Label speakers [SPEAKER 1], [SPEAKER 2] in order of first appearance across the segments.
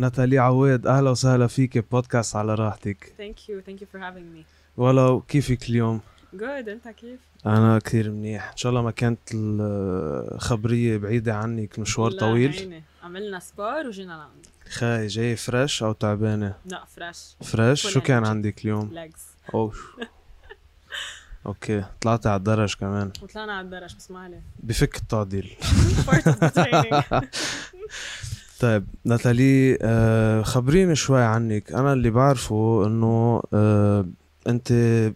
[SPEAKER 1] ناتالي عواد اهلا وسهلا فيك بودكاست على راحتك
[SPEAKER 2] ثانك يو ثانك يو فور هافينج مي
[SPEAKER 1] ولو كيفك اليوم
[SPEAKER 2] جود انت كيف؟
[SPEAKER 1] انا كثير منيح ان شاء الله ما كانت الخبريه بعيده عنك مشوار
[SPEAKER 2] لا
[SPEAKER 1] طويل
[SPEAKER 2] عيني. عملنا سبار وجينا لعندك
[SPEAKER 1] خاي جاي فريش او تعبانه
[SPEAKER 2] لا فريش
[SPEAKER 1] فريش
[SPEAKER 2] فول
[SPEAKER 1] شو كان
[SPEAKER 2] energy.
[SPEAKER 1] عندك اليوم
[SPEAKER 2] ليجز
[SPEAKER 1] اوف اوكي طلعت على الدرج كمان
[SPEAKER 2] وطلعنا على الدرج بس ما عليه
[SPEAKER 1] بفك التعديل
[SPEAKER 2] part of the training
[SPEAKER 1] طيب ناتالي آه، خبريني شوي عنك انا اللي بعرفه انه آه، انت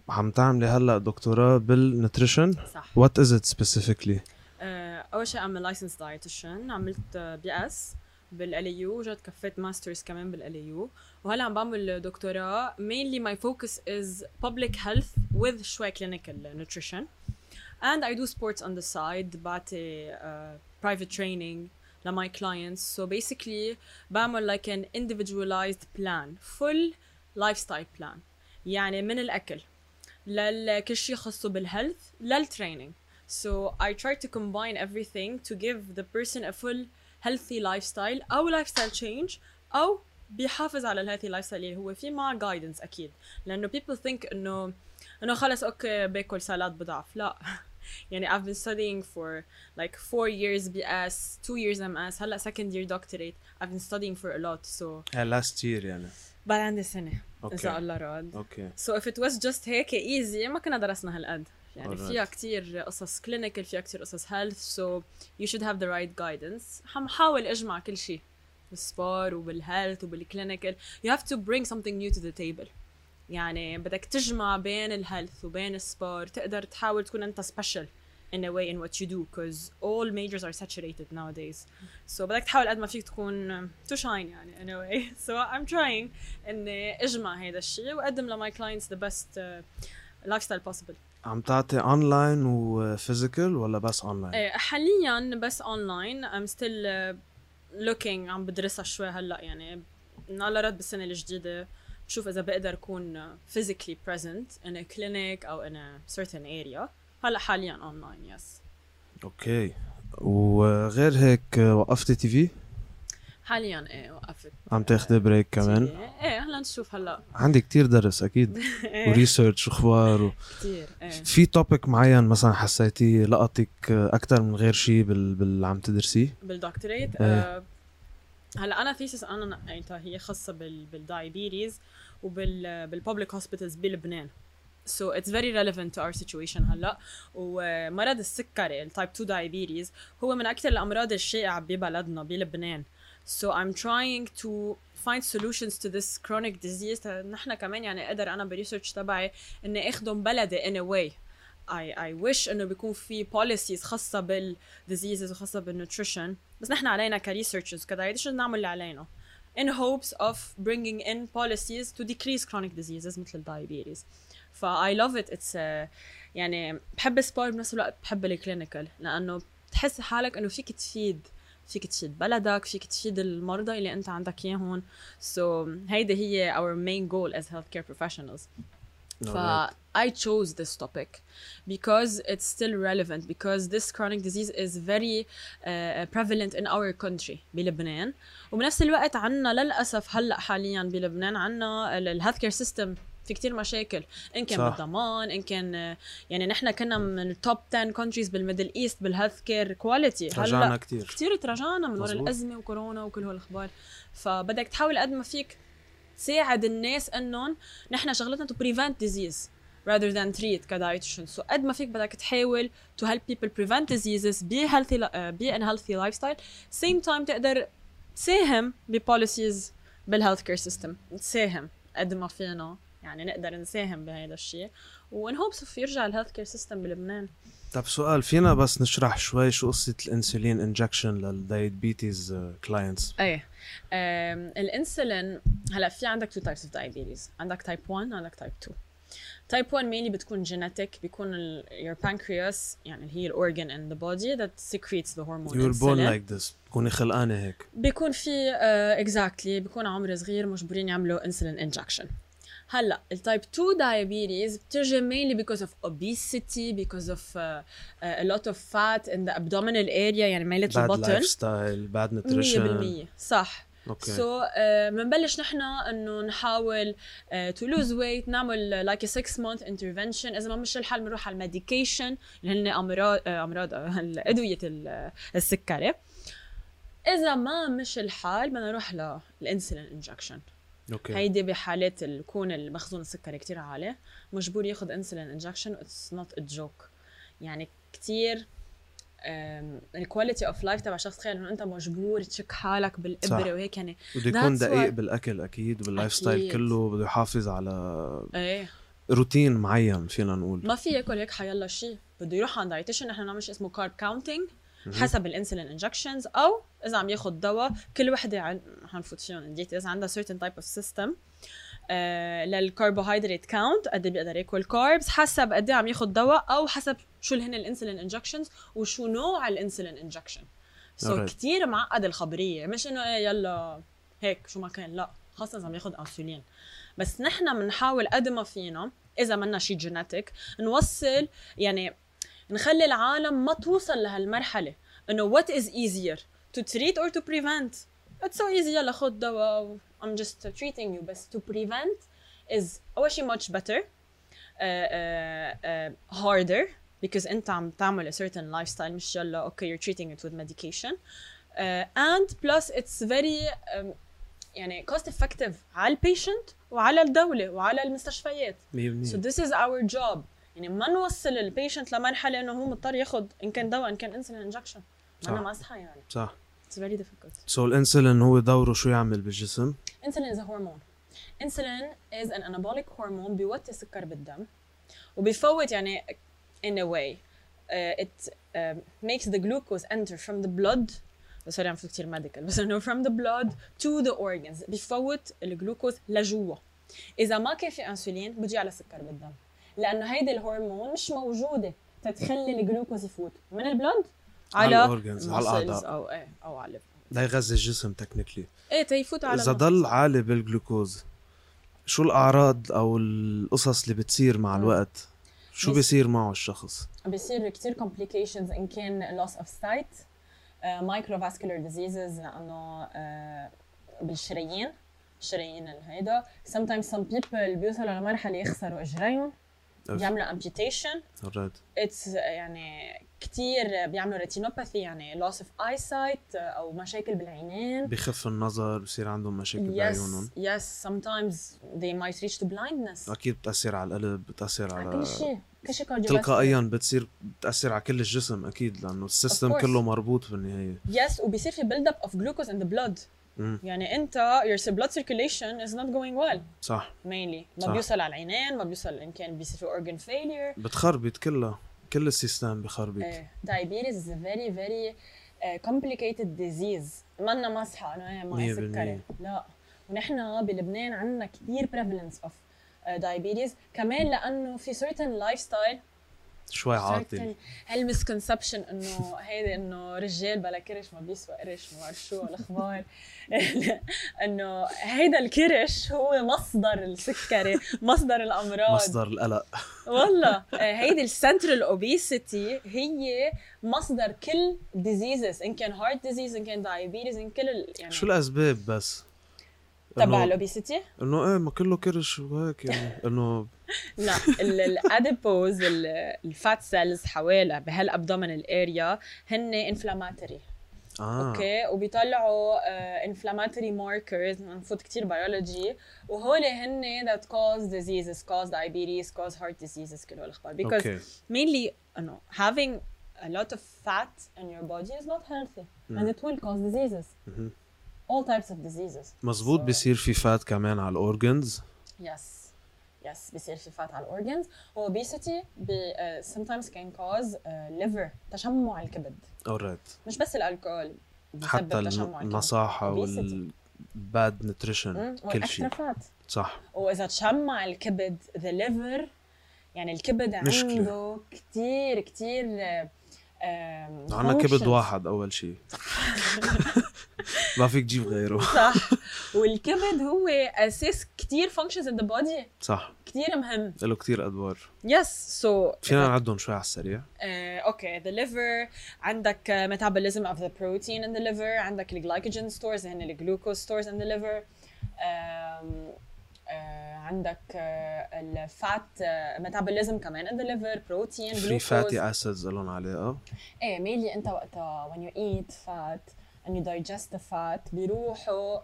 [SPEAKER 1] عم تعملي هلا دكتوراه بالنتريشن
[SPEAKER 2] صح
[SPEAKER 1] وات از ات سبيسيفيكلي
[SPEAKER 2] آه، اول شيء ام لايسنس دايتيشن عملت آه، بي اس بالاليو وجات كفيت ماسترز كمان بالاليو وهلا عم بعمل دكتوراه mainly my focus is public health with شوي clinical nutrition and I do sports on the side بعطي uh, private training لماي clients so basically بعمل like an individualized plan full lifestyle plan يعني من الأكل لكل شيء خصو بالهيلث للتريننج So I try to combine everything to give the person a full healthy lifestyle أو lifestyle change أو بيحافظ على الهيلثي لايف ستايل اللي هو فيه مع جايدنس أكيد لأنه people think إنه إنه خلص أوكي باكل سلاد بضعف لا يعني I've been studying for like four years BS two years MS هلا second year doctorate I've been studying for a lot so
[SPEAKER 1] لاست يير يعني
[SPEAKER 2] بعد عندي سنة إن شاء
[SPEAKER 1] اوكي
[SPEAKER 2] الله راد
[SPEAKER 1] اوكي
[SPEAKER 2] سو اف ات واز جاست هيك ايزي ما كنا درسنا هالقد يعني
[SPEAKER 1] Alright.
[SPEAKER 2] فيها كتير قصص كلينيكال فيها كتير قصص هيلث سو يو شود هاف ذا رايت جايدنس حاول اجمع كل شيء بالسبار وبالهيلث وبالكلينيكال يو هاف تو برينج something نيو تو ذا تيبل يعني بدك تجمع بين الهيلث وبين السبار تقدر تحاول تكون انت سبيشال in a way in what you do because all majors are saturated nowadays so بدك تحاول قد ما فيك تكون to shine يعني in a way so I'm trying اني اجمع هيدا الشيء واقدم لماي كلاينتس ذا بيست لايف ستايل uh, possible
[SPEAKER 1] عم تعطي اونلاين وفيزيكال ولا بس اونلاين؟
[SPEAKER 2] آه، حاليا بس اونلاين ام ستيل لوكينج uh, عم بدرسها شوي هلا يعني على رد بالسنه الجديده بشوف اذا بقدر اكون physically present in a clinic او in a certain area هلا حاليا اونلاين يس
[SPEAKER 1] اوكي وغير هيك آه، وقفتي تي في
[SPEAKER 2] حاليا ايه وقفت
[SPEAKER 1] عم تاخدي بريك كمان
[SPEAKER 2] ايه هلا نشوف هلا
[SPEAKER 1] عندي كتير درس اكيد
[SPEAKER 2] إيه،
[SPEAKER 1] وريسيرش واخبار و...
[SPEAKER 2] كتير ايه
[SPEAKER 1] في توبيك معين مثلا حسيتيه لقطك اكثر من غير شيء بال... بال... عم تدرسيه
[SPEAKER 2] بالدكتوريت
[SPEAKER 1] إيه.
[SPEAKER 2] آه، هلا انا ثيسس انا نقيتها هي خاصه بال بالدايابيتيز وبال بالببليك هوسبيتالز بلبنان سو اتس فيري ريليفنت تو اور سيتويشن هلا ومرض السكري التايب 2 دايابيتيز هو من اكثر الامراض الشائعه ببلدنا بلبنان So I'm trying to find solutions to this chronic disease نحن كمان يعني اقدر انا بالريسيرش تبعي اني اخدهم بلدي in a way I, I wish انه بيكون في policies خاصة بال diseases وخاصة بالnutrition بس نحن علينا كريسيرشرز كدايتيشن نعمل اللي علينا in hopes of bringing in policies to decrease chronic diseases مثل الدايابيتيز ف I love it it's a, يعني بحب السبور بنفس الوقت بحب الكلينيكال لأنه بتحس حالك انه فيك تفيد فيك تفيد بلدك فيك تفيد المرضى اللي انت عندك اياهم so هيدي هي our main goal as healthcare professionals ف I chose this topic because it's still relevant because this chronic disease is very uh, prevalent in our country بلبنان وبنفس الوقت عنا للأسف هلأ حاليا بلبنان عنا الهيلث كير سيستم في كتير مشاكل ان كان
[SPEAKER 1] صح.
[SPEAKER 2] بالضمان ان كان آه، يعني نحن كنا من التوب 10 countries بالميدل ايست بالهيلث كير كواليتي هلا
[SPEAKER 1] رجعنا كثير
[SPEAKER 2] كتير تراجعنا من ورا
[SPEAKER 1] مزبوط.
[SPEAKER 2] الازمه وكورونا وكل هالاخبار فبدك تحاول قد ما فيك تساعد الناس انهم نحن شغلتنا تو بريفنت ديزيز rather than treat كدايتشن سو قد ما فيك بدك تحاول to help people prevent diseases be healthy uh, be in healthy lifestyle same time تقدر تساهم ب policies بالهيلث كير سيستم نساهم قد ما فينا يعني نقدر نساهم بهذا الشيء وان هوبس يرجع الهيلث كير سيستم بلبنان
[SPEAKER 1] طب سؤال فينا بس نشرح شوي شو قصه الانسولين انجكشن للدايابيتيز كلاينتس
[SPEAKER 2] ايه أم، الانسولين هلا في عندك تو تايبس اوف دايابيتيز عندك تايب 1 عندك تايب 2 تايب 1 mainly بتكون جينيتك بيكون يور pancreas يعني اللي هي الاورجن ان ذا بودي ذات secretes the hormone
[SPEAKER 1] يور بون
[SPEAKER 2] insulin.
[SPEAKER 1] لايك ذس تكوني خلقانه هيك
[SPEAKER 2] بيكون في اكزاكتلي exactly, بيكون عمر صغير مجبورين يعملوا انسولين انجكشن هلا التايب 2 دايابيتيز بتجي mainly because of obesity because of uh, uh, a lot of fat in the abdominal area يعني ميلة
[SPEAKER 1] باد
[SPEAKER 2] البطن
[SPEAKER 1] لايف ستايل باد نوتريشن
[SPEAKER 2] 100% صح
[SPEAKER 1] اوكي
[SPEAKER 2] سو بنبلش آه، نحن انه نحاول آه، تو لوز ويت نعمل آه، لايك 6 مانث انترفنشن اذا ما مش الحل بنروح على الميديكيشن اللي هن امراض آه، امراض آه، ادويه ال- آه، السكري اذا ما مش الحال بدنا نروح للانسولين انجكشن
[SPEAKER 1] اوكي
[SPEAKER 2] هيدي بحالات اللي يكون المخزون السكري كتير عالي مجبور ياخد انسولين انجكشن اتس نوت ا جوك يعني كتير الكواليتي اوف لايف تبع شخص تخيل انه انت مجبور تشك حالك
[SPEAKER 1] صح.
[SPEAKER 2] بالابره وهيك يعني
[SPEAKER 1] بده يكون
[SPEAKER 2] That's
[SPEAKER 1] دقيق
[SPEAKER 2] why-
[SPEAKER 1] بالاكل اكيد باللايف
[SPEAKER 2] أكيد.
[SPEAKER 1] ستايل كله بده يحافظ على
[SPEAKER 2] ايه
[SPEAKER 1] روتين معين فينا نقول
[SPEAKER 2] ما في ياكل هيك حيلا شيء بده يروح عند دايتيشن نحن بنعمل شيء اسمه كارب كاونتينج حسب الانسولين انجكشنز او اذا عم ياخذ دواء كل وحده عن... حنفوت فيهم ان details عندها certain type of system آه للكربوهيدرات كاونت قد ايه بيقدر ياكل كاربس حسب قد ايه عم ياخذ دواء او حسب شو اللي هن الانسولين انجكشنز وشو نوع الانسولين انجكشن سو
[SPEAKER 1] Alright.
[SPEAKER 2] كثير معقد الخبريه مش انه ايه يلا هيك شو ما كان لا خاصه اذا عم ياخذ انسولين بس نحن بنحاول قد ما فينا اذا منا شيء جينيتك نوصل يعني نخلي العالم ما توصل لهالمرحله انه وات از ايزير تو تريت اور تو بريفنت اتس سو ايزي يلا خد دواء و- I'm just treating you بس to prevent is اول شيء much better uh, uh, uh, harder because انت عم تعمل a certain lifestyle مش يلا اوكي okay, you're treating it with medication uh, and plus it's very um, يعني cost effective على البيشنت وعلى الدولة وعلى المستشفيات
[SPEAKER 1] 100%
[SPEAKER 2] so this is our job يعني ما نوصل البيشنت لمرحلة انه هو مضطر ياخد ان كان دواء ان كان انسولين انجكشن
[SPEAKER 1] صح.
[SPEAKER 2] انا مازحة يعني
[SPEAKER 1] صح
[SPEAKER 2] it's very difficult
[SPEAKER 1] سو الانسولين هو دوره شو يعمل بالجسم
[SPEAKER 2] insulin is a hormone insulin is an anabolic hormone بيوطي السكر بالدم وبيفوت يعني in a way uh, it um, makes the glucose enter from the blood Oh, سوري عم فوت كثير ميديكال بس انه from the blood to the organs بيفوت الجلوكوز لجوا اذا ما كان في انسولين بيجي على السكر بالدم لانه هيدي الهرمون مش موجوده تتخلي الجلوكوز يفوت من البلد على,
[SPEAKER 1] على الأورجنز، على
[SPEAKER 2] muscles
[SPEAKER 1] الأعضاء.
[SPEAKER 2] او ايه او على
[SPEAKER 1] ليغذي الجسم تكنيكلي
[SPEAKER 2] ايه تيفوت على
[SPEAKER 1] اذا
[SPEAKER 2] المخ.
[SPEAKER 1] ضل عالي بالجلوكوز شو الاعراض او القصص اللي بتصير مع
[SPEAKER 2] مم.
[SPEAKER 1] الوقت شو
[SPEAKER 2] بس-
[SPEAKER 1] بيصير معه الشخص
[SPEAKER 2] بيصير كتير complications إن كان loss of sight uh, microvascular diseases لأنه uh, بالشرايين الشرايين الهيدا sometimes some people بيوصلوا لمرحلة يخسروا إجريهم بيعملوا amputation
[SPEAKER 1] alright
[SPEAKER 2] it's uh, يعني كتير بيعملوا retinopathy يعني loss of eyesight uh, أو مشاكل بالعينين
[SPEAKER 1] بخف النظر بصير عندهم مشاكل
[SPEAKER 2] yes
[SPEAKER 1] بعيونهم
[SPEAKER 2] yes sometimes they might reach to blindness
[SPEAKER 1] اكيد بتاثر على القلب بتاثر
[SPEAKER 2] على كل
[SPEAKER 1] على
[SPEAKER 2] شيء كل شيء cardiovascular.
[SPEAKER 1] تلقائيا بتصير بتاثر على كل الجسم اكيد لانه السيستم
[SPEAKER 2] يعني. course.
[SPEAKER 1] كله مربوط بالنهايه
[SPEAKER 2] yes وبيصير في build up of glucose in the blood
[SPEAKER 1] مم.
[SPEAKER 2] يعني انت your blood circulation is not going well
[SPEAKER 1] صح
[SPEAKER 2] mainly
[SPEAKER 1] صح.
[SPEAKER 2] ما بيوصل على العينين ما بيوصل ان كان بيصير في organ failure
[SPEAKER 1] بتخربط كلها كل السيستم بخربط
[SPEAKER 2] آه، diabetes is a very very آه، complicated disease منا مصحى انا هي معي
[SPEAKER 1] مية
[SPEAKER 2] سكري
[SPEAKER 1] بالمية.
[SPEAKER 2] لا ونحن بلبنان عندنا كثير prevalence of آه، diabetes كمان لانه في certain lifestyle
[SPEAKER 1] شوي
[SPEAKER 2] certain-
[SPEAKER 1] عاطل
[SPEAKER 2] هالمسكونسبشن انه هيدي انه رجال بلا كرش ما بيسوى قرش ما بعرف شو الاخبار انه هيدا الكرش هو مصدر السكري مصدر الامراض
[SPEAKER 1] مصدر
[SPEAKER 2] يعني.
[SPEAKER 1] القلق
[SPEAKER 2] والله آه، هيدي السنترال اوبيسيتي هي مصدر كل ديزيزز ان كان هارت ديزيز ان كان دايابيتيز ان كل ال- يعني
[SPEAKER 1] شو الاسباب بس
[SPEAKER 2] تبع
[SPEAKER 1] إنه-
[SPEAKER 2] الاوبيسيتي
[SPEAKER 1] انه ايه ما كله كرش وهيك يعني انه
[SPEAKER 2] لا الاديبوز الفات سيلز حوالي بهالابدومينال اريا هن انفلاماتوري
[SPEAKER 1] اه
[SPEAKER 2] اوكي وبيطلعوا آه، انفلاماتوري ماركرز نفوت كتير بيولوجي وهول هن that cause diseases cause diabetes cause heart diseases كل هالاخبار because
[SPEAKER 1] اوكي
[SPEAKER 2] mainly you know, having a lot of fat in your body is not healthy and it will cause diseases
[SPEAKER 1] Mhm.
[SPEAKER 2] all types of diseases
[SPEAKER 1] مزبوط بيصير في فات كمان على الاورجنز
[SPEAKER 2] يس يس بصير في فات على الاورجنز obesity بي, uh, sometimes can cause uh, liver تشمع الكبد
[SPEAKER 1] اوريت
[SPEAKER 2] مش بس الالكول بيسبب
[SPEAKER 1] حتى
[SPEAKER 2] تشمع الكبد.
[SPEAKER 1] النصاحه
[SPEAKER 2] Obesity.
[SPEAKER 1] والباد
[SPEAKER 2] مم،
[SPEAKER 1] نوتريشن كل
[SPEAKER 2] والاكسترا
[SPEAKER 1] شيء
[SPEAKER 2] فات
[SPEAKER 1] صح
[SPEAKER 2] واذا تشمع الكبد ذا ليفر يعني الكبد
[SPEAKER 1] مشكلة.
[SPEAKER 2] عنده كتير كتير
[SPEAKER 1] عنا كبد واحد اول شيء ما فيك تجيب غيره
[SPEAKER 2] صح والكبد هو اساس كتير functions in the body
[SPEAKER 1] صح
[SPEAKER 2] كتير مهم
[SPEAKER 1] له كتير ادوار
[SPEAKER 2] يس سو
[SPEAKER 1] فينا نعدهم شوي على السريع
[SPEAKER 2] اوكي ذا ليفر عندك ميتابوليزم اوف ذا بروتين ان ذا ليفر عندك الجلايكوجين ستورز هن الجلوكوز ستورز ان ذا ليفر آه، عندك آه، الفات ميتابوليزم كمان ان ذا ليفر بروتين
[SPEAKER 1] فري فاتي اسيدز لهم علاقه
[SPEAKER 2] ايه ميلي انت وقتها when you eat fat and you digest the fat بيروحوا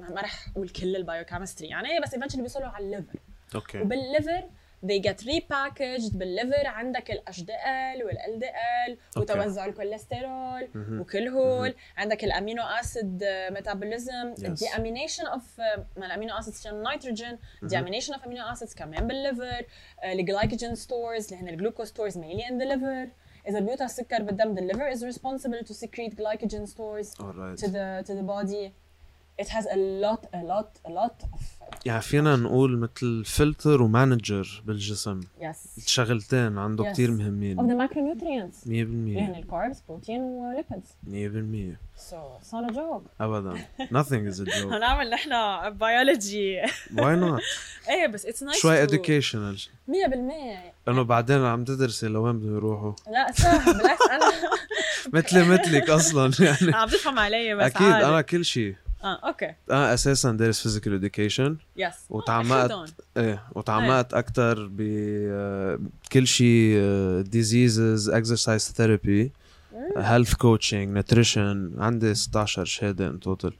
[SPEAKER 2] ما رح اقول كل البايوكيمستري يعني بس eventually بيوصلوا على الليفر
[SPEAKER 1] اوكي
[SPEAKER 2] وبالليفر they get repackaged بالليفر عندك ال HDL وال LDL وتوزع الكوليسترول
[SPEAKER 1] مهم.
[SPEAKER 2] وكل هول عندك الامينو اسيد ميتابوليزم
[SPEAKER 1] Yes.
[SPEAKER 2] deamination اوف ما الامينو اسيدز كان نيتروجين deamination اوف امينو اسيدز كمان بالليفر Uh، الجلايكوجين ستورز اللي هن الجلوكوز ستورز mainly in the liver اذا بيوتا السكر بالدم the liver is responsible to secrete glycogen stores
[SPEAKER 1] alright.
[SPEAKER 2] to the to the body it has a lot a lot a lot of
[SPEAKER 1] يعني فينا نقول مثل فلتر ومانجر بالجسم
[SPEAKER 2] yes
[SPEAKER 1] الشغلتين عنده
[SPEAKER 2] Yes.
[SPEAKER 1] كتير
[SPEAKER 2] of
[SPEAKER 1] مهمين
[SPEAKER 2] the macronutrients
[SPEAKER 1] 100%
[SPEAKER 2] يعني الكاربس بروتين وليبيدز
[SPEAKER 1] 100%
[SPEAKER 2] سو اتس نوت جوب
[SPEAKER 1] ابدا nothing is a joke
[SPEAKER 2] هنعمل نحن بيولوجي
[SPEAKER 1] why not
[SPEAKER 2] ايه بس اتس نايس
[SPEAKER 1] شوي educational
[SPEAKER 2] 100%
[SPEAKER 1] انه بعدين عم تدرسي لوين بدهم يروحوا
[SPEAKER 2] لا سهل بالعكس انا
[SPEAKER 1] مثلي مثلك اصلا يعني
[SPEAKER 2] عم تفهم علي بس
[SPEAKER 1] اكيد
[SPEAKER 2] عادي.
[SPEAKER 1] انا كل شيء
[SPEAKER 2] اه اوكي
[SPEAKER 1] انا اساسا دارس فيزيكال اديوكيشن
[SPEAKER 2] يس
[SPEAKER 1] وتعمقت- ايه وتعمقت اكثر بكل شيء ديزيزز اكسرسايز ثيرابي هيلث كوتشنج نوتريشن عندي 16 شهاده ان توتال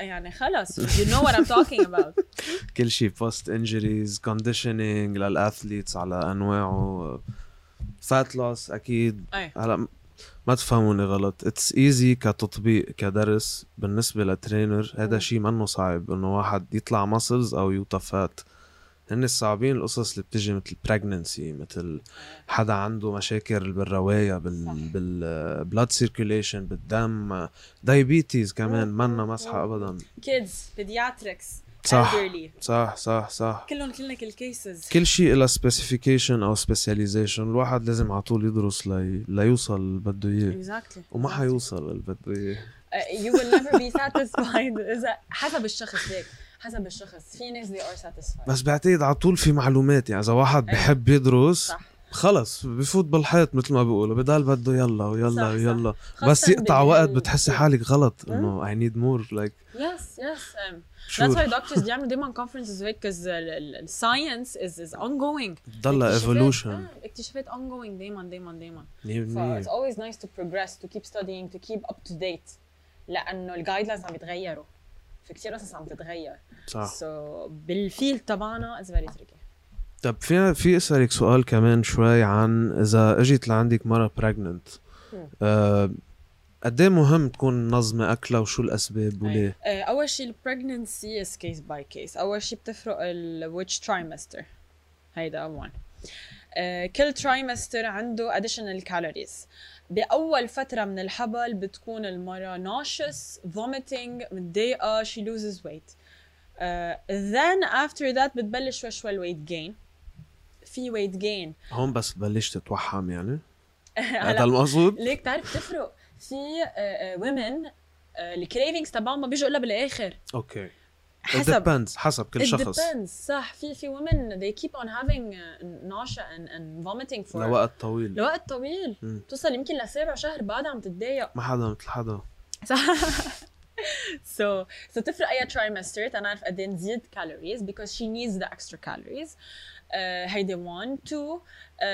[SPEAKER 2] يعني خلص you know what I'm talking about
[SPEAKER 1] كل شيء بوست انجريز كونديشننج للاثليتس على انواعه فات لوس اكيد
[SPEAKER 2] ايه
[SPEAKER 1] هلا م- ما تفهموني غلط اتس ايزي كتطبيق كدرس بالنسبه لترينر هذا
[SPEAKER 2] مم.
[SPEAKER 1] شيء منه صعب انه واحد يطلع مسلز او يوطى فات هن الصعبين القصص اللي بتجي مثل بريجننسي مثل حدا عنده مشاكل بالروايه بال
[SPEAKER 2] صح.
[SPEAKER 1] بالبلاد سيركيوليشن بالدم دايبيتيز كمان
[SPEAKER 2] مم.
[SPEAKER 1] منا مسحه ابدا
[SPEAKER 2] kids pediatrics
[SPEAKER 1] صح.
[SPEAKER 2] elderly
[SPEAKER 1] صح صح صح
[SPEAKER 2] كلهم كلك الكيسز
[SPEAKER 1] كل شيء له سبيسيفيكيشن او سبيشاليزيشن الواحد لازم على طول يدرس لي... ليوصل اللي بده اياه
[SPEAKER 2] exactly
[SPEAKER 1] وما
[SPEAKER 2] exactly.
[SPEAKER 1] حيوصل اللي بده اياه
[SPEAKER 2] Uh, you will never be satisfied اذا حسب الشخص هيك حسب الشخص في ناس they are satisfied
[SPEAKER 1] بس بعتقد على طول في معلومات يعني اذا واحد
[SPEAKER 2] إيه.
[SPEAKER 1] بحب يدرس
[SPEAKER 2] صح.
[SPEAKER 1] خلص بفوت بالحيط مثل ما بيقولوا بضل بده يلا
[SPEAKER 2] صح،
[SPEAKER 1] ويلا
[SPEAKER 2] صح.
[SPEAKER 1] ويلا
[SPEAKER 2] خاصة
[SPEAKER 1] بس يقطع
[SPEAKER 2] بال-
[SPEAKER 1] وقت بتحسي حالك غلط انه اي نيد مور لايك
[SPEAKER 2] Yes, yes. Um, that's
[SPEAKER 1] شو
[SPEAKER 2] why doctors بيعملوا دايما conferences uh, هيك because science is is ongoing.
[SPEAKER 1] ضلها
[SPEAKER 2] اكتشافات-
[SPEAKER 1] ايفولوشن
[SPEAKER 2] آه، اكتشافات ongoing دايما دايما دايما.
[SPEAKER 1] 100%
[SPEAKER 2] ف it's always nice to progress, to keep studying, to keep up to date. لأنه الجايدلاينز عم يتغيروا. في كثير قصص عم تتغير.
[SPEAKER 1] صح
[SPEAKER 2] So بالفيلد تبعنا is very tricky.
[SPEAKER 1] طب فينا في اسالك سؤال كمان شوي عن اذا اجت لعندك مره بريجننت
[SPEAKER 2] مم.
[SPEAKER 1] قد ايه مهم تكون منظمه اكلها وشو الاسباب وليه؟
[SPEAKER 2] آه، أول شيء ال pregnancy is case by case. أول شيء بتفرق ال which trimester. هيدا one. آه، كل ترايمستر عنده additional calories بأول فترة من الحبل بتكون المرأة nauseous, vomiting, متضايقة, she loses weight. آه، then after that بتبلش شوي شوي الويت جين. في weight gain.
[SPEAKER 1] هون بس بلشت تتوحم يعني؟
[SPEAKER 2] هلا
[SPEAKER 1] هذا المقصود؟
[SPEAKER 2] ليك تعرف تفرق في آه، آه، women الكريفنجز تبعهم ما بيجوا الا بالاخر
[SPEAKER 1] اوكي
[SPEAKER 2] حسب
[SPEAKER 1] ديبندز حسب كل
[SPEAKER 2] It
[SPEAKER 1] شخص
[SPEAKER 2] depends صح في في women they keep on having uh, nausea and, and vomiting for
[SPEAKER 1] لوقت طويل
[SPEAKER 2] لوقت طويل
[SPEAKER 1] مم.
[SPEAKER 2] توصل يمكن لسابع شهر بعدها عم تتضايق
[SPEAKER 1] ما حدا مثل حدا
[SPEAKER 2] صح so so تفرق اي trimester تنعرف قد ايه نزيد calories because she needs the extra calories uh, هيدي 1 2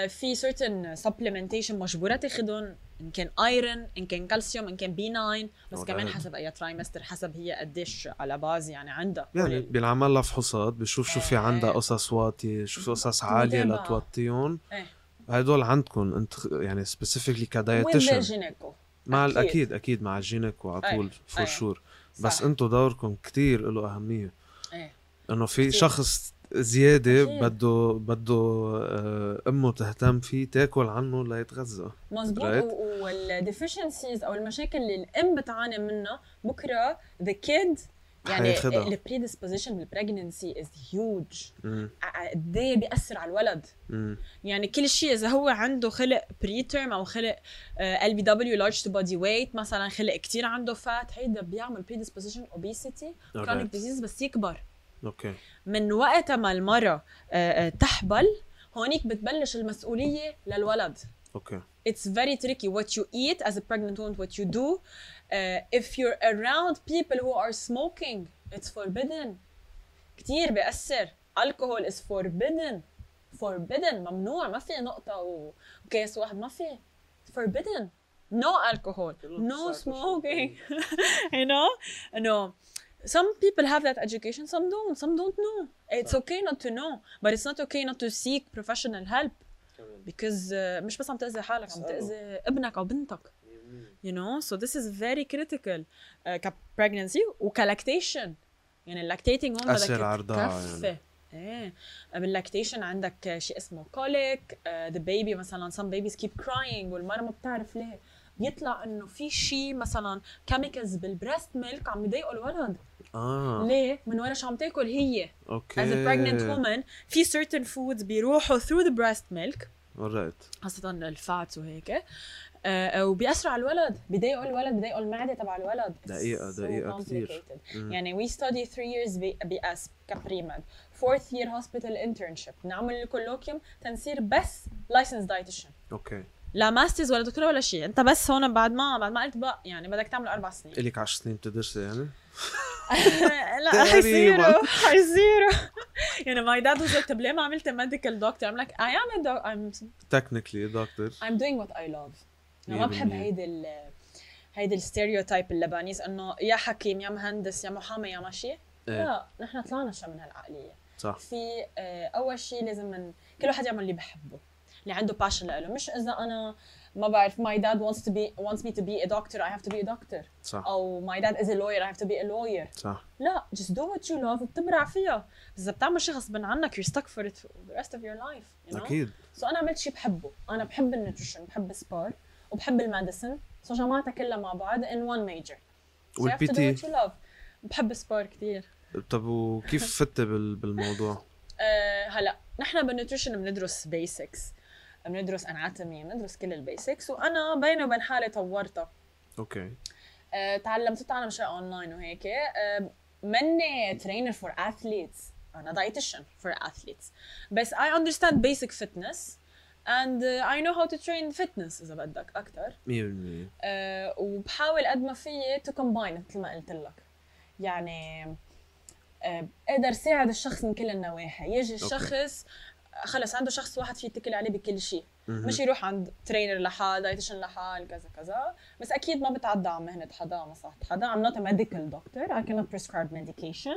[SPEAKER 2] uh, في certain supplementation مجبوره تاخذهم ان كان iron ان كان كالسيوم ان كان B9 بس
[SPEAKER 1] Alright.
[SPEAKER 2] كمان حسب اي trimester حسب هي قديش على باز يعني عندها
[SPEAKER 1] يعني بينعمل لها فحوصات بشوف شو في
[SPEAKER 2] إيه.
[SPEAKER 1] عندها قصص واطيه شو في قصص عاليه
[SPEAKER 2] متابعة.
[SPEAKER 1] لتوطيهم
[SPEAKER 2] إيه.
[SPEAKER 1] هدول عندكم انت يعني سبيسيفيكلي
[SPEAKER 2] وين
[SPEAKER 1] كدايتيشن
[SPEAKER 2] جينيكو
[SPEAKER 1] مع ال-
[SPEAKER 2] أكيد.
[SPEAKER 1] اكيد اكيد مع الجينك وعلى
[SPEAKER 2] إيه.
[SPEAKER 1] طول فور
[SPEAKER 2] إيه.
[SPEAKER 1] شور بس انتم دوركم كتير له اهميه
[SPEAKER 2] إيه.
[SPEAKER 1] انه في
[SPEAKER 2] كتير.
[SPEAKER 1] شخص زياده
[SPEAKER 2] أكيد.
[SPEAKER 1] بده بده آه، امه تهتم فيه تاكل عنه ليتغذى
[SPEAKER 2] مظبوط
[SPEAKER 1] Right.
[SPEAKER 2] والديفشنسيز او المشاكل اللي الام بتعاني منها بكره ذا كيد يعني
[SPEAKER 1] حياخدها.
[SPEAKER 2] البريدisposition للبريجننسي از هيوج
[SPEAKER 1] مم.
[SPEAKER 2] قد ايه بيأثر على الولد
[SPEAKER 1] مم.
[SPEAKER 2] يعني كل شيء اذا هو عنده خلق بري تيرم او خلق آه، ال بي دبليو لارج تو بودي ويت مثلا خلق كتير عنده فات هيدا بيعمل بريدisposition اوبيسيتي كرونيك
[SPEAKER 1] Alright.
[SPEAKER 2] ديزيز بس يكبر
[SPEAKER 1] اوكي
[SPEAKER 2] من وقت ما المرأة آه، آه، تحبل هونيك بتبلش المسؤولية للولد
[SPEAKER 1] اوكي
[SPEAKER 2] it's very tricky what you eat as a pregnant woman what you do uh, if you're around people who are smoking it's forbidden كتير بيأثر alcohol is forbidden forbidden ممنوع ما في نقطة وكاس واحد ما في forbidden no alcohol no smoking you know no some people have that education some don't some don't know it's okay not to know but it's not okay not to seek professional help because uh, مش بس عم تاذي حالك عم
[SPEAKER 1] اسأله.
[SPEAKER 2] تاذي ابنك او بنتك you know so this is very critical uh, ك pregnancy وكلاكتيشن يعني اللاكتيتنج هون
[SPEAKER 1] أثر على
[SPEAKER 2] بدك
[SPEAKER 1] الرضاعة
[SPEAKER 2] تكفي
[SPEAKER 1] يعني.
[SPEAKER 2] ايه باللاكتيشن عندك شيء اسمه آه، كوليك ذا بيبي مثلا some babies keep crying والمرة ما بتعرف ليه بيطلع انه في شيء مثلا كيميكلز بالبريست ميلك عم يضايقوا الولد
[SPEAKER 1] اه
[SPEAKER 2] ليه من ورا شو عم تاكل هي
[SPEAKER 1] اوكي
[SPEAKER 2] as a pregnant woman في certain foods بيروحوا through the breast milk
[SPEAKER 1] alright.
[SPEAKER 2] خاصة الفاتس وهيك آه، آه، وبيأثروا على الولد بيضايقوا الولد بيضايقوا المعدة تبع الولد It's
[SPEAKER 1] دقيقة-
[SPEAKER 2] so
[SPEAKER 1] دقيقة كتير.
[SPEAKER 2] complicated.
[SPEAKER 1] مم.
[SPEAKER 2] يعني we study three years ب- بأس كبريمد fourth year hospital internship نعمل الكولوكيوم تنصير بس licensed dietitian
[SPEAKER 1] اوكي
[SPEAKER 2] لا ماسترز ولا دكتوراه ولا شيء انت بس هون بعد ما بعد ما قلت بقى يعني بدك تعمل اربع سنين
[SPEAKER 1] الك 10 سنين بتدرسي يعني؟
[SPEAKER 2] لا
[SPEAKER 1] تقريباً.
[SPEAKER 2] حيصيروا حيصيروا يعني ماي داد واز طب ليه ما عملت ميديكال دكتور؟ I'm like I am a doc I'm
[SPEAKER 1] تكنيكلي دكتور
[SPEAKER 2] I'm doing what I love انا ما
[SPEAKER 1] 100%
[SPEAKER 2] بحب هيدي ال هيدي الستيريوتايب اللبنانيز انه يا حكيم يا مهندس يا محامي يا ماشي
[SPEAKER 1] ايه
[SPEAKER 2] لا نحن طلعنا شوي من هالعقليه
[SPEAKER 1] صح
[SPEAKER 2] في آه، اول شيء لازم من كل واحد يعمل اللي بحبه اللي عنده باشن له مش اذا انا ما بعرف my dad wants to be wants me to be a doctor I have to be a doctor
[SPEAKER 1] صح
[SPEAKER 2] او my dad is a lawyer I have to be a lawyer
[SPEAKER 1] صح
[SPEAKER 2] لا just do what you love وبتبرع فيها بس اذا بتعمل شيء غصب عنك you're stuck for it for the rest of your life you know?
[SPEAKER 1] اكيد
[SPEAKER 2] سو انا عملت شيء بحبه انا بحب النيوتريشن بحب السبار وبحب الماديسن سو جمعتها كلها مع بعض ان وان ميجر
[SPEAKER 1] والبي تي
[SPEAKER 2] بحب السبار كثير
[SPEAKER 1] طب وكيف فتي بال- بالموضوع؟
[SPEAKER 2] أه هلا نحن بالنيوتريشن بندرس بيسكس بندرس اناتومي بندرس كل البيسكس وانا بيني وبين حالي طورتها
[SPEAKER 1] اوكي
[SPEAKER 2] أه تعلمت تعلم شيء اونلاين وهيك أه مني ترينر فور اثليتس انا دايتيشن فور اثليتس بس اي اندرستاند بيسك فيتنس اند اي نو هاو تو ترين فيتنس اذا بدك اكثر
[SPEAKER 1] 100%
[SPEAKER 2] أه، وبحاول قد ما فيي تو كومباين مثل ما قلت لك يعني أه، بقدر ساعد الشخص من كل النواحي يجي
[SPEAKER 1] أوكي.
[SPEAKER 2] الشخص خلص عنده شخص واحد في يتكل عليه بكل شيء
[SPEAKER 1] مهم.
[SPEAKER 2] مش يروح عند ترينر لحال دايتيشن لحال كذا كذا بس اكيد ما بتعدى على مهنه حدا على مصلحه حدا I'm not a medical doctor I cannot prescribe medication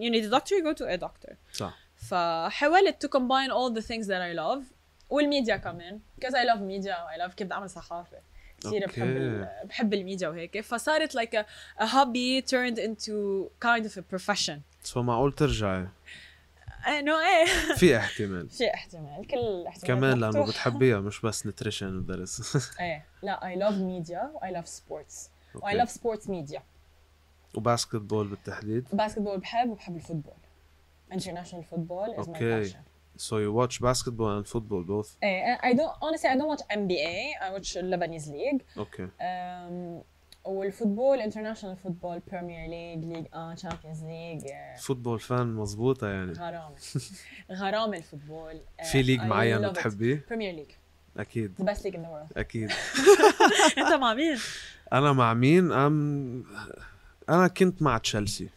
[SPEAKER 2] you need a doctor you go to a doctor
[SPEAKER 1] صح
[SPEAKER 2] فحاولت to combine all the things that I love والميديا كمان because I love media I love كيف بدي اعمل صحافه كثير بحب ال- بحب الميديا وهيك فصارت like a, a hobby turned into kind of a profession
[SPEAKER 1] سو معقول ترجعي
[SPEAKER 2] انه ايه
[SPEAKER 1] في احتمال
[SPEAKER 2] في احتمال كل احتمال
[SPEAKER 1] كمان لانه بتحبيها مش بس نتريشن ودرس
[SPEAKER 2] ايه لا I love media I love sports و I
[SPEAKER 1] أوكي.
[SPEAKER 2] love sports media
[SPEAKER 1] وباسكت بول بالتحديد
[SPEAKER 2] باسكتبول بحب وبحب الفوتبول international football is my
[SPEAKER 1] أوكي.
[SPEAKER 2] passion
[SPEAKER 1] سو يو واتش باسكت بول اند فوتبول بوث
[SPEAKER 2] ايه I don't honestly I don't watch NBA I watch Lebanese league
[SPEAKER 1] اوكي
[SPEAKER 2] أم، والفوتبول انترناشونال فوتبول بريمير ليج ليج اه تشامبيونز ليج
[SPEAKER 1] فوتبول فان مزبوطه يعني
[SPEAKER 2] غرامه غرامه الفوتبول آه،
[SPEAKER 1] في ليج معين بتحبيه
[SPEAKER 2] بريمير ليج
[SPEAKER 1] اكيد
[SPEAKER 2] ذا بيست ليج ان ذا وورلد
[SPEAKER 1] اكيد
[SPEAKER 2] انت مع
[SPEAKER 1] إيه.
[SPEAKER 2] مين؟
[SPEAKER 1] انا مع مين ام انا كنت مع تشيلسي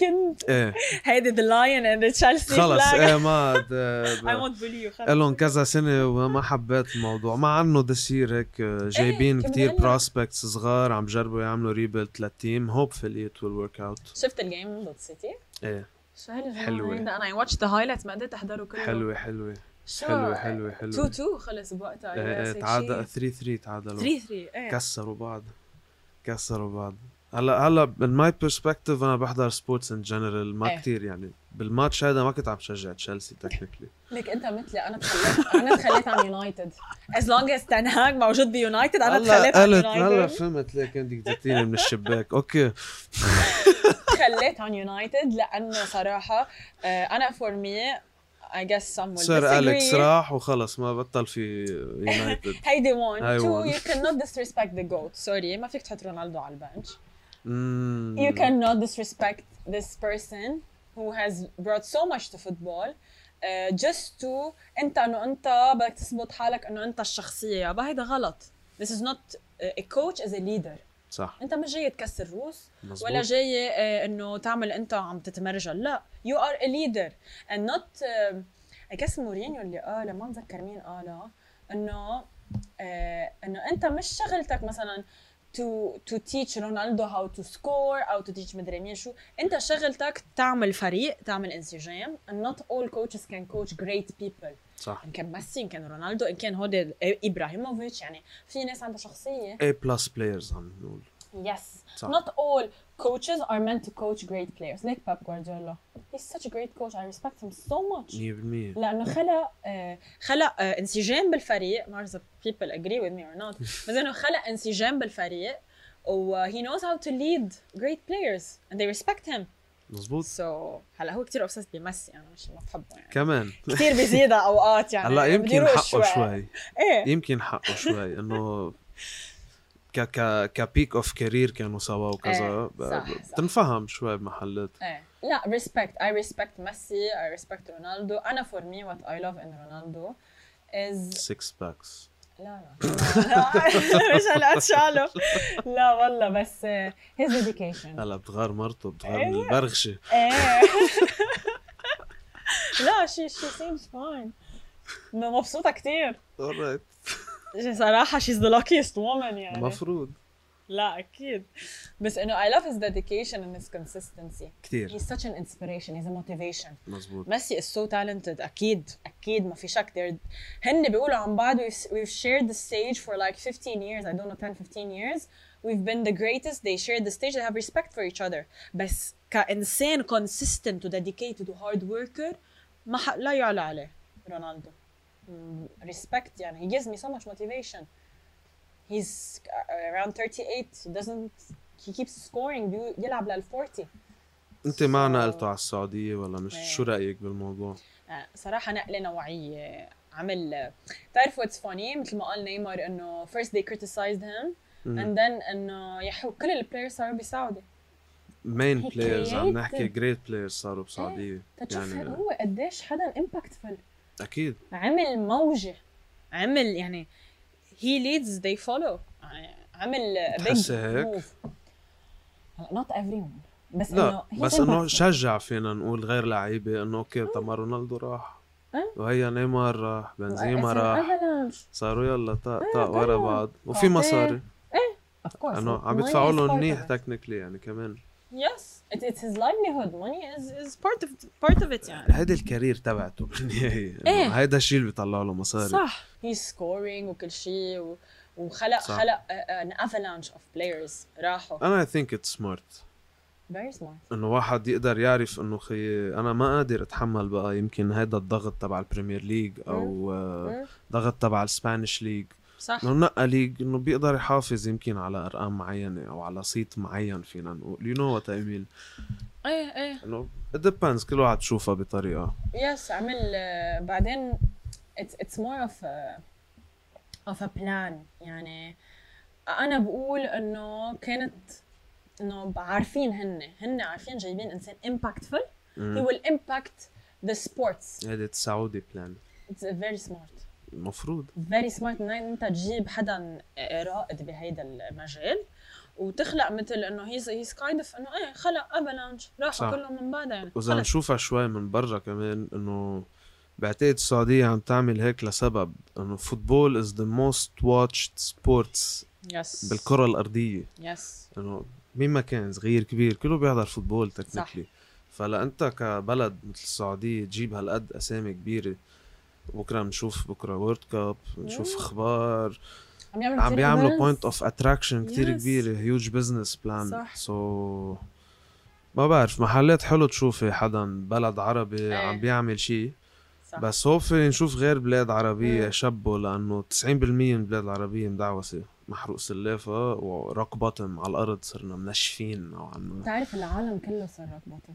[SPEAKER 2] كنت
[SPEAKER 1] ايه
[SPEAKER 2] هيدي ذا لاين اند تشيلسي
[SPEAKER 1] خلص ايه ما
[SPEAKER 2] اي ونت بولي يو
[SPEAKER 1] لهم كذا سنه وما حبيت الموضوع مع انه دسير هيك آه، جايبين
[SPEAKER 2] كمان
[SPEAKER 1] كتير
[SPEAKER 2] لا.
[SPEAKER 1] بروسبكتس صغار عم جربوا يعملوا ريبيلت للتيم هوبفلي ات ويل ورك اوت
[SPEAKER 2] شفت الجيم ضد سيتي؟
[SPEAKER 1] ايه
[SPEAKER 2] شو هالجماعة
[SPEAKER 1] حلوة.
[SPEAKER 2] هيدا؟ انا اي واتش ذا هايلايتس ما قدرت احضره كله
[SPEAKER 1] حلوه حلوه
[SPEAKER 2] شو؟
[SPEAKER 1] حلوه حلوه
[SPEAKER 2] 2
[SPEAKER 1] حلوه
[SPEAKER 2] 2 خلص بوقتها
[SPEAKER 1] ايه
[SPEAKER 2] yes,
[SPEAKER 1] ايه
[SPEAKER 2] هيك
[SPEAKER 1] تعادل
[SPEAKER 2] شي.
[SPEAKER 1] 3 3 تعادلوا
[SPEAKER 2] 3 3 ايه
[SPEAKER 1] كسروا بعض كسروا بعض هلا هلا من ماي برسبكتيف انا بحضر سبورتس ان جنرال ما
[SPEAKER 2] إيه.
[SPEAKER 1] كثير يعني بالماتش هذا ما كنت عم شجع تشيلسي تكنيكلي
[SPEAKER 2] لك انت مثلي انا تخليت انا تخليت عن يونايتد از لونج از تن هاج موجود بيونايتد انا تخليت عن
[SPEAKER 1] قلت هلا
[SPEAKER 2] يونايتد
[SPEAKER 1] فهمت ليه كنت بدك تقتلني من الشباك اوكي
[SPEAKER 2] تخليت عن يونايتد لانه صراحه آه، انا فور مي I guess some will
[SPEAKER 1] صار اليكس
[SPEAKER 2] disagree.
[SPEAKER 1] راح وخلص ما بطل في يونايتد
[SPEAKER 2] هيدي وان
[SPEAKER 1] هاي
[SPEAKER 2] تو
[SPEAKER 1] one.
[SPEAKER 2] يو cannot disrespect the goat سوري ما فيك تحط رونالدو على البنش
[SPEAKER 1] مم.
[SPEAKER 2] you cannot disrespect this person who has brought so much to football uh, just to انت انه انت بدك تثبت حالك انه انت الشخصيه يابا هيدا غلط this is not uh, a coach is a leader
[SPEAKER 1] صح
[SPEAKER 2] انت مش جاي تكسر روس
[SPEAKER 1] مزبوط.
[SPEAKER 2] ولا جاي uh, انه تعمل انت عم تتمرجل لا you are a leader and not uh, I guess مورينيو اللي قاله ما بتذكر مين قاله انه آه، انه انت مش شغلتك مثلا to to teach رونالدو how to score او to teach مدري مين شو انت شغلتك تعمل فريق تعمل انسجام and not all coaches can coach great people
[SPEAKER 1] صح
[SPEAKER 2] ان كان ميسي ان كان رونالدو ان كان هودي ابراهيموفيتش يعني في ناس عندها شخصيه
[SPEAKER 1] A plus players عم نقول
[SPEAKER 2] Yes.
[SPEAKER 1] صح.
[SPEAKER 2] Not all coaches are meant to coach great players. Like Pep Guardiola. He's such a great coach. I respect him so much.
[SPEAKER 1] 100%
[SPEAKER 2] لانه خلق آه، خلق آه، انسجام بالفريق ما اعرف اذا people agree with me or not بس انه خلق انسجام بالفريق و uh, he knows how to lead great players and they respect him
[SPEAKER 1] مزبوط
[SPEAKER 2] so هلا هو كثير obsessed بميسي انا مش ما بحبه يعني
[SPEAKER 1] كمان
[SPEAKER 2] كثير بيزيدها اوقات يعني
[SPEAKER 1] هلا يمكن
[SPEAKER 2] بدي روح
[SPEAKER 1] حقه شوي
[SPEAKER 2] ايه
[SPEAKER 1] يمكن حقه شوي انه ك ك كبيك اوف كارير كانوا سوا وكذا
[SPEAKER 2] إيه، صح، صح.
[SPEAKER 1] بتنفهم شوي بمحلات
[SPEAKER 2] ايه لا respect I respect Messi I respect Ronaldo انا for me what I love in Ronaldo is
[SPEAKER 1] 6 باكس
[SPEAKER 2] لا لا لا، مش هلا تشالو لا والله بس آه، eh, his dedication
[SPEAKER 1] هلا بتغار مرته بتغار من
[SPEAKER 2] إيه.
[SPEAKER 1] البرغشه
[SPEAKER 2] ايه لا Eh. she she seems fine م- مبسوطة كتير
[SPEAKER 1] alright.
[SPEAKER 2] صراحة she's the luckiest woman يعني
[SPEAKER 1] مفروض
[SPEAKER 2] لا أكيد بس إنه I love his dedication and his consistency
[SPEAKER 1] كثير
[SPEAKER 2] he's such an inspiration he's a motivation
[SPEAKER 1] مزبوط
[SPEAKER 2] ميسي is so talented أكيد أكيد ما في شك they're هن بيقولوا عن بعض we've, we've shared the stage for like 15 years I don't know 10 15 years we've been the greatest they shared the stage they have respect for each other بس كإنسان consistent و dedicated و hard worker ما حق لا يعلى عليه رونالدو Mm, respect يعني he gives me so much motivation he's uh, around 38 he doesn't he keeps scoring بيو- يلعب لل 40
[SPEAKER 1] انت ما نقلته على السعوديه ولا مش
[SPEAKER 2] آه. إيه.
[SPEAKER 1] شو رايك بالموضوع
[SPEAKER 2] آه، صراحه نقله نوعيه عمل بتعرفوا واتس فاني مثل ما قال نيمار انه first they criticized him and then انه يحو كل البلايرز صاروا بسعودي
[SPEAKER 1] مين
[SPEAKER 2] He
[SPEAKER 1] بلايرز عم نحكي
[SPEAKER 2] created.
[SPEAKER 1] جريت بلايرز صاروا
[SPEAKER 2] إيه.
[SPEAKER 1] بسعوديه
[SPEAKER 2] تشوف
[SPEAKER 1] يعني
[SPEAKER 2] طيب هو قديش حدا امباكتفul
[SPEAKER 1] اكيد
[SPEAKER 2] عمل موجه عمل يعني he leads they follow يعني عمل big
[SPEAKER 1] بتحسي هيك؟
[SPEAKER 2] move هلا not everyone بس
[SPEAKER 1] لا
[SPEAKER 2] انه he's
[SPEAKER 1] بس انه
[SPEAKER 2] impactful.
[SPEAKER 1] شجع فينا نقول غير لعيبه انه اوكي طب ما رونالدو راح
[SPEAKER 2] إيه.
[SPEAKER 1] وهي نيمار راح بنزيما
[SPEAKER 2] إنه
[SPEAKER 1] راح
[SPEAKER 2] avalanche.
[SPEAKER 1] صاروا يلا طق طق
[SPEAKER 2] إيه، طبعاً.
[SPEAKER 1] ورا بعض وفي
[SPEAKER 2] بعدين.
[SPEAKER 1] مصاري
[SPEAKER 2] Of course,
[SPEAKER 1] انه عم
[SPEAKER 2] money
[SPEAKER 1] يدفعوا
[SPEAKER 2] is part
[SPEAKER 1] لهم
[SPEAKER 2] of
[SPEAKER 1] منيح
[SPEAKER 2] it.
[SPEAKER 1] تكنيكلي يعني كمان
[SPEAKER 2] Yes, it, it's his livelihood. Money is, is part of part of it يعني.
[SPEAKER 1] هيدا الكارير تبعته بالنهايه إنه
[SPEAKER 2] إيه.
[SPEAKER 1] هيدا الشيء اللي بيطلع له مصاري
[SPEAKER 2] صح. He's scoring وكل شيء و... وخلق
[SPEAKER 1] صح.
[SPEAKER 2] صح. خلق uh, an avalanche of players راحوا.
[SPEAKER 1] انا اي ثينك اتس سمارت
[SPEAKER 2] Very smart.
[SPEAKER 1] انه واحد يقدر يعرف انه خي انا ما قادر اتحمل بقى يمكن هيدا الضغط تبع البريمير ليج
[SPEAKER 2] إيه.
[SPEAKER 1] او آه،
[SPEAKER 2] مم.
[SPEAKER 1] ضغط تبع السبانيش ليج
[SPEAKER 2] صح.
[SPEAKER 1] انه نقى ليج انه بيقدر يحافظ يمكن على ارقام معينه او على صيت معين فينا نقول يو نو وات اي مين
[SPEAKER 2] ايه ايه.
[SPEAKER 1] انه ديبيندز كل واحد شوفها بطريقه
[SPEAKER 2] Yes, عمل uh, بعدين it's it's more of a of a plan يعني انا بقول انه كانت انه عارفين هن هن عارفين جايبين انسان impactful he
[SPEAKER 1] مم.
[SPEAKER 2] will impact the sports
[SPEAKER 1] هيدا السعودي بلان
[SPEAKER 2] it's very smart
[SPEAKER 1] المفروض
[SPEAKER 2] فيري سمارت ان انت تجيب حدا رائد بهيدا المجال وتخلق مثل انه هيز هيز كايند اوف انه
[SPEAKER 3] إيه،
[SPEAKER 2] ايه خلق افالانش
[SPEAKER 1] صح.
[SPEAKER 2] راحوا كلهم من بعضها يعني
[SPEAKER 1] واذا
[SPEAKER 2] خلص.
[SPEAKER 1] نشوفها شوي من برا كمان انه بعتقد السعودية عم تعمل هيك لسبب انه فوتبول از ذا موست واتشد سبورتس
[SPEAKER 2] يس
[SPEAKER 1] بالكرة الارضية
[SPEAKER 2] يس
[SPEAKER 1] انه مين ما كان صغير كبير كله بيحضر فوتبول تكنيكلي فلا انت كبلد مثل السعودية تجيب هالقد اسامي كبيرة بكره بنشوف بكره وورد كاب بنشوف
[SPEAKER 2] مم.
[SPEAKER 1] اخبار
[SPEAKER 2] عم يعملوا
[SPEAKER 1] عم
[SPEAKER 2] كتير
[SPEAKER 1] بيعملوا
[SPEAKER 2] events.
[SPEAKER 1] بوينت اوف اتراكشن كثير
[SPEAKER 3] Yes.
[SPEAKER 1] كبيره هيوج بزنس بلان
[SPEAKER 2] صح.
[SPEAKER 1] سو ما بعرف محلات حلو تشوفي حدا بلد عربي
[SPEAKER 3] إيه.
[SPEAKER 1] عم بيعمل شيء
[SPEAKER 3] صح إيه.
[SPEAKER 1] بس هوفي نشوف غير بلاد عربيه
[SPEAKER 2] مم.
[SPEAKER 1] شبوا لانه 90% من البلاد العربيه مدعوسه محروق سلافه وروك بوتم على الارض صرنا منشفين نوعا ما
[SPEAKER 2] بتعرف العالم كله صار روك بوتم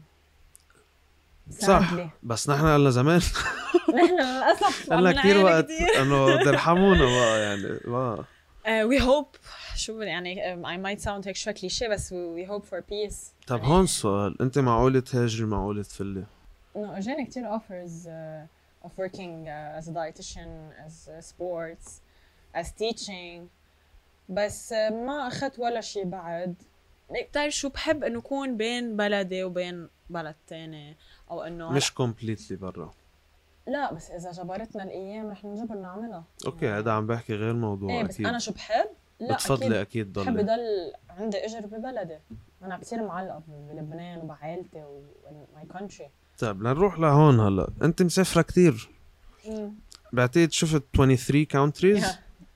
[SPEAKER 1] صح بس نحن قلنا زمان
[SPEAKER 2] نحن للاسف
[SPEAKER 1] قلنا
[SPEAKER 3] عملنا
[SPEAKER 1] كثير
[SPEAKER 3] عيلة
[SPEAKER 1] وقت
[SPEAKER 3] كتير.
[SPEAKER 1] انه بدي ارحمونا بقى يعني ما
[SPEAKER 3] Uh, we hope شو يعني um, I might sound هيك شوي كليشيه بس we, we hope for peace
[SPEAKER 1] طب هون سؤال انت معقوله تهاجري معقوله تفلي
[SPEAKER 2] انه اجاني كثير offers uh, of working uh, as a dietitian, as uh, sports, as teaching بس uh, ما اخذت ولا شيء بعد إيه.
[SPEAKER 3] بتعرف طيب، شو بحب انه كون بين بلدي وبين بلد تاني او انه
[SPEAKER 1] مش كومبليتلي برا
[SPEAKER 2] لا بس اذا جبرتنا الايام رح نجبر نعملها
[SPEAKER 1] اوكي هذا عم بحكي غير موضوع
[SPEAKER 2] ايه بس انا
[SPEAKER 1] اكيد
[SPEAKER 2] شو بحب؟
[SPEAKER 1] بتفضلي
[SPEAKER 2] لا بتفضلي
[SPEAKER 1] اكيد
[SPEAKER 2] بحب
[SPEAKER 1] ضلي
[SPEAKER 2] ضل عندي اجر ببلدي انا كثير معلقه بلبنان وبعائلتي وماي كونتري
[SPEAKER 1] طيب لنروح لهون هلا انت مسافره كتير بعتقد شفت 23 countries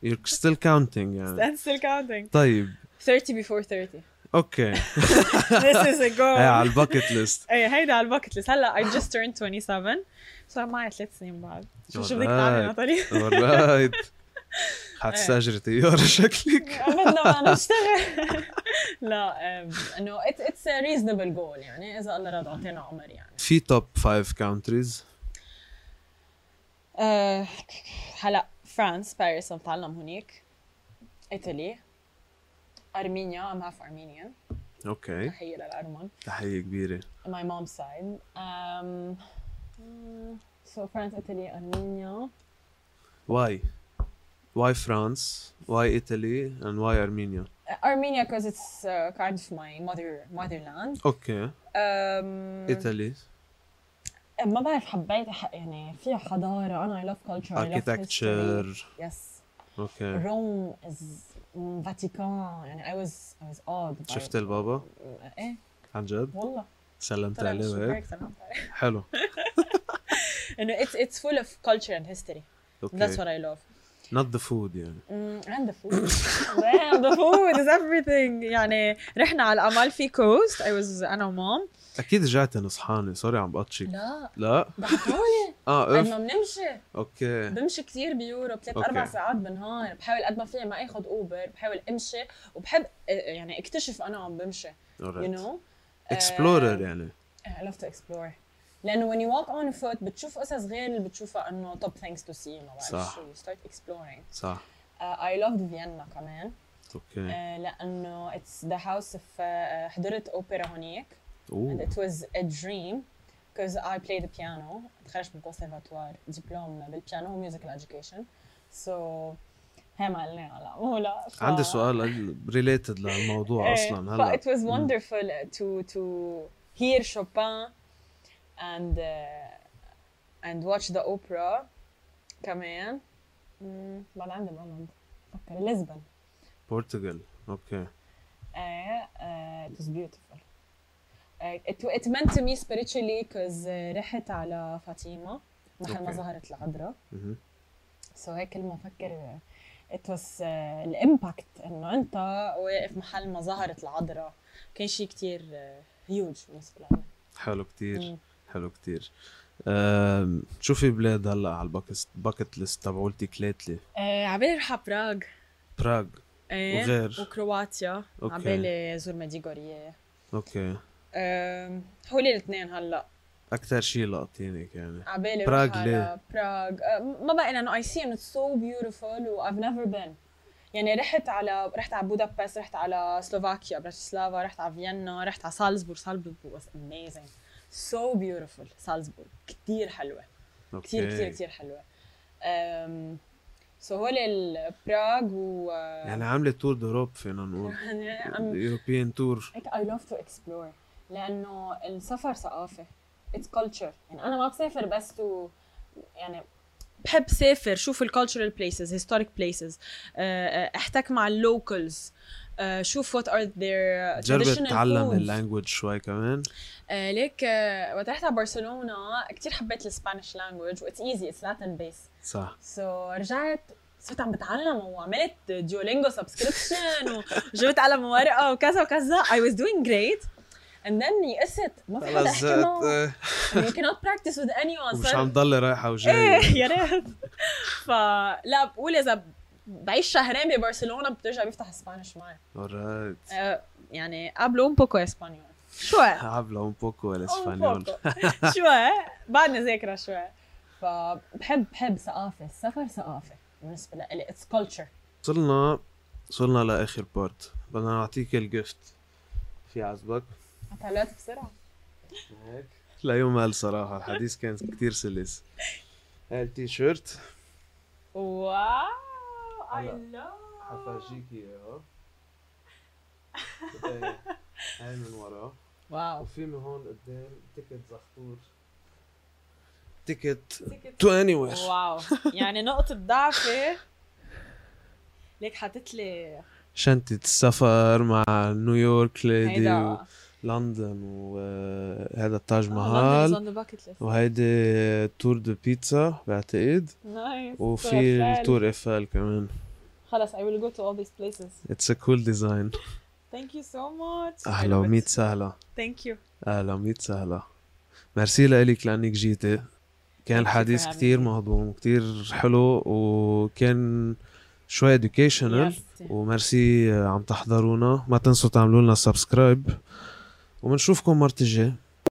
[SPEAKER 1] you're still counting يعني
[SPEAKER 3] That's still counting
[SPEAKER 1] طيب
[SPEAKER 3] 30 before 30
[SPEAKER 1] اوكي
[SPEAKER 3] This is a
[SPEAKER 1] هي
[SPEAKER 3] goal
[SPEAKER 1] إيه، على الباكت ليست
[SPEAKER 3] ايه هيدا على الباكت ليست هلا I just turned 27 صار معي ثلاث سنين بعد شو شو بدك تعمل
[SPEAKER 1] Alright.
[SPEAKER 3] نطلي؟
[SPEAKER 1] اورايت حتستاجري طياره شكلك
[SPEAKER 2] بدنا ما نشتغل لا
[SPEAKER 3] um,
[SPEAKER 2] آم، انه اتس ريزونبل جول يعني اذا الله راد اعطينا عمر يعني
[SPEAKER 1] في توب 5 countries
[SPEAKER 3] Eh,
[SPEAKER 2] آه، هلا فرانس باريس عم بتعلم هونيك ايطالي ارمينيا ام هاف ارمينيان
[SPEAKER 1] اوكي
[SPEAKER 2] تحيه للارمن
[SPEAKER 1] تحيه كبيره
[SPEAKER 2] my mom's side. Um,
[SPEAKER 3] mm,
[SPEAKER 2] so France, Italy, Armenia.
[SPEAKER 1] واي واي فرانس واي ايطالي اند واي ارمينيا
[SPEAKER 2] Uh, Armenia because it's uh, kind of my mother motherland.
[SPEAKER 1] اوكي
[SPEAKER 2] Mm. Um,
[SPEAKER 1] ايطالي
[SPEAKER 2] ما بعرف حبيت ح- يعني فيها حضارة أنا I love culture I love history.
[SPEAKER 1] architecture
[SPEAKER 2] Yes.
[SPEAKER 1] اوكي
[SPEAKER 2] Rome is mm, Vatican يعني I was I was awed. by-
[SPEAKER 1] شفت البابا
[SPEAKER 2] إيه
[SPEAKER 1] عن جد
[SPEAKER 2] والله
[SPEAKER 1] سلمت
[SPEAKER 3] طلع
[SPEAKER 1] عليه
[SPEAKER 3] مش
[SPEAKER 1] وهيك
[SPEAKER 3] perfect.
[SPEAKER 1] حلو
[SPEAKER 2] إنه it's it's full of culture and history. That's
[SPEAKER 1] اوكي
[SPEAKER 2] what I love.
[SPEAKER 1] not the food يعني
[SPEAKER 2] Mm, and the food. Damn,
[SPEAKER 3] Damn,
[SPEAKER 2] the
[SPEAKER 3] the food is everything يعني رحنا على الامالفي كوست I was انا ومام
[SPEAKER 1] اكيد رجعت نصحانه سوري عم بقطشك
[SPEAKER 2] لا
[SPEAKER 1] لا
[SPEAKER 2] ضحكوني
[SPEAKER 1] اه
[SPEAKER 2] قد
[SPEAKER 1] اف
[SPEAKER 2] ما بنمشي
[SPEAKER 1] اوكي
[SPEAKER 2] بمشي كثير بيوروب ثلاث
[SPEAKER 1] أوكي.
[SPEAKER 2] اربع ساعات بالنهار بحاول قد ما فيي ما اخذ اوبر بحاول امشي وبحب آه، يعني اكتشف انا عم بمشي آه، يو
[SPEAKER 1] alright.
[SPEAKER 2] نو
[SPEAKER 1] explorer يعني
[SPEAKER 2] اي لاف تو اكسبلور لانه when you walk on foot بتشوف قصص غير اللي بتشوفها انه top things to see ما بعرف
[SPEAKER 1] صح.
[SPEAKER 2] شو you start exploring
[SPEAKER 1] صح
[SPEAKER 2] uh, I loved Vienna كمان uh,
[SPEAKER 1] اوكي
[SPEAKER 2] لانه it's the house of uh, حضرت اوبرا هونيك and
[SPEAKER 1] اوه
[SPEAKER 2] it was a dream because I play the piano تخرجت من الكونسرفاتوار دبلوم بالبيانو وميوزيكال education so هي ما قلنا هلا مو لا ف...
[SPEAKER 1] عندي سؤال ريليتد
[SPEAKER 2] إيه،
[SPEAKER 1] للموضوع اصلا هلا
[SPEAKER 2] Euh, it was
[SPEAKER 1] مم.
[SPEAKER 2] wonderful uh, to to hear Chopin and uh, and watch the opera Mm, كمان مم، بعد عندي بولند فكر لشبن
[SPEAKER 1] Portugal. اوكي
[SPEAKER 2] Uh, uh, it was beautiful. Uh, it, it meant to me spiritually because uh, رحت على فاطمة محل ما
[SPEAKER 1] Okay.
[SPEAKER 2] ظهرت العذراء.
[SPEAKER 1] مهم.
[SPEAKER 2] سو so, هيك كل ما افكر uh, it was uh, الامباكت انه انت واقف محل ما ظهرت العذراء كان شيء كثير هيوج بالنسبة لنا.
[SPEAKER 1] حلو كتير
[SPEAKER 2] مم.
[SPEAKER 1] حلو كتير أم، شو في بلاد هلا على الباكت باكت ليست تبعولتك ليتلي
[SPEAKER 2] آه،
[SPEAKER 3] عبالي رح على براغ
[SPEAKER 1] براغ
[SPEAKER 2] إيه.
[SPEAKER 3] ايه
[SPEAKER 1] وغير
[SPEAKER 3] وكرواتيا
[SPEAKER 1] أوكي.
[SPEAKER 3] عبالي زور ميديغوريا
[SPEAKER 1] اوكي
[SPEAKER 2] أم، هولي الاثنين هلا
[SPEAKER 1] اكثر شيء لقطينك يعني
[SPEAKER 2] عبالي
[SPEAKER 1] براغ
[SPEAKER 2] روح على
[SPEAKER 1] ليه؟
[SPEAKER 2] براغ أم، آه، ما بقى لانه اي سي انه سو بيوتيفول و I've never been يعني رحت على رحت على بودابست رحت على سلوفاكيا براتسلافا رحت على فيينا رحت على سالزبورغ سالزبورغ was amazing so beautiful سالزبورغ كثير حلوه
[SPEAKER 1] اوكي
[SPEAKER 2] كثير كثير كثير حلوه أم سو هول براغ و
[SPEAKER 1] يعني عامله تور دوروب فينا نقول
[SPEAKER 2] يعني I'm-
[SPEAKER 1] يوروبيان تور
[SPEAKER 2] هيك I love to explore لأنه السفر ثقافة it's culture يعني أنا ما بسافر بس to يعني
[SPEAKER 3] بحب سافر شوف الكالتشرال بليسز هيستوريك بليسز
[SPEAKER 2] آه،
[SPEAKER 3] احتك مع اللوكلز شوف وات ار ذير
[SPEAKER 1] جربت تتعلم اللانجوج شوي كمان
[SPEAKER 2] آه، ليك آه، وقت رحت على برشلونة كثير حبيت الاسبانيش لانجوج واتس ايزي اتس لاتن بيس
[SPEAKER 1] صح
[SPEAKER 2] سو رجعت صرت عم بتعلم وعملت ديولينجو سبسكريبشن وجبت قلم ورقه وكذا وكذا I was doing great and then يئست ما في حدا
[SPEAKER 1] خلص
[SPEAKER 2] احكي معه
[SPEAKER 1] آه،
[SPEAKER 2] you cannot practice with anyone
[SPEAKER 1] ومش
[SPEAKER 2] صار
[SPEAKER 1] عم ضل رايحه وجايه
[SPEAKER 2] ايه يا ريت فلا بقول اذا بعيش شهرين ببرشلونه بترجع بيفتح اسبانيش معي
[SPEAKER 1] اورايت
[SPEAKER 2] آه، يعني hablo un poco español شوي
[SPEAKER 1] هابلا un poco el
[SPEAKER 2] Un
[SPEAKER 1] español
[SPEAKER 2] poco. شوي بعدني ذاكره شوي فبحب بحب ثقافه السفر ثقافه بالنسبه لي اتس كلتشر
[SPEAKER 1] وصلنا وصلنا لاخر بارت بدنا نعطيك الجفت في عزبك
[SPEAKER 2] طلعت بسرعه
[SPEAKER 1] لا يمل صراحه الحديث كان كتير سلس هاي التي شيرت
[SPEAKER 2] واو اي
[SPEAKER 1] هلا.
[SPEAKER 2] لاف
[SPEAKER 1] حفرجيك اياها إيه، هاي من ورا
[SPEAKER 2] واو
[SPEAKER 1] وفي من هون قدام تيكت زخطور تيكت تو اني وير
[SPEAKER 2] واو يعني نقطة ضعفي ليك حاطط لي
[SPEAKER 1] شنطة السفر مع نيويورك ليدي
[SPEAKER 2] هيدا آه،
[SPEAKER 1] ولندن وهذا آه، التاج
[SPEAKER 2] محل
[SPEAKER 1] محل
[SPEAKER 2] اون ذا باكيت ليست
[SPEAKER 1] وهيدي تور دو بيتزا بعتقد
[SPEAKER 2] نايس
[SPEAKER 1] وفي التور افل كمان
[SPEAKER 2] خلص I will go to all these places
[SPEAKER 1] اتس ا كول ديزاين
[SPEAKER 2] thank you so much
[SPEAKER 1] اهلا وميت سهلا
[SPEAKER 2] thank you
[SPEAKER 1] اهلا وميت سهلا ميرسي لك لانك جيتي كان
[SPEAKER 2] Thank you for
[SPEAKER 1] الحديث
[SPEAKER 2] having
[SPEAKER 1] كتير
[SPEAKER 2] me.
[SPEAKER 1] مهضوم كتير حلو وكان شوي educational
[SPEAKER 2] Yes.
[SPEAKER 1] آه، وميرسي عم تحضرونا ما تنسوا تعملوا لنا سبسكرايب وبنشوفكم مرة الجاي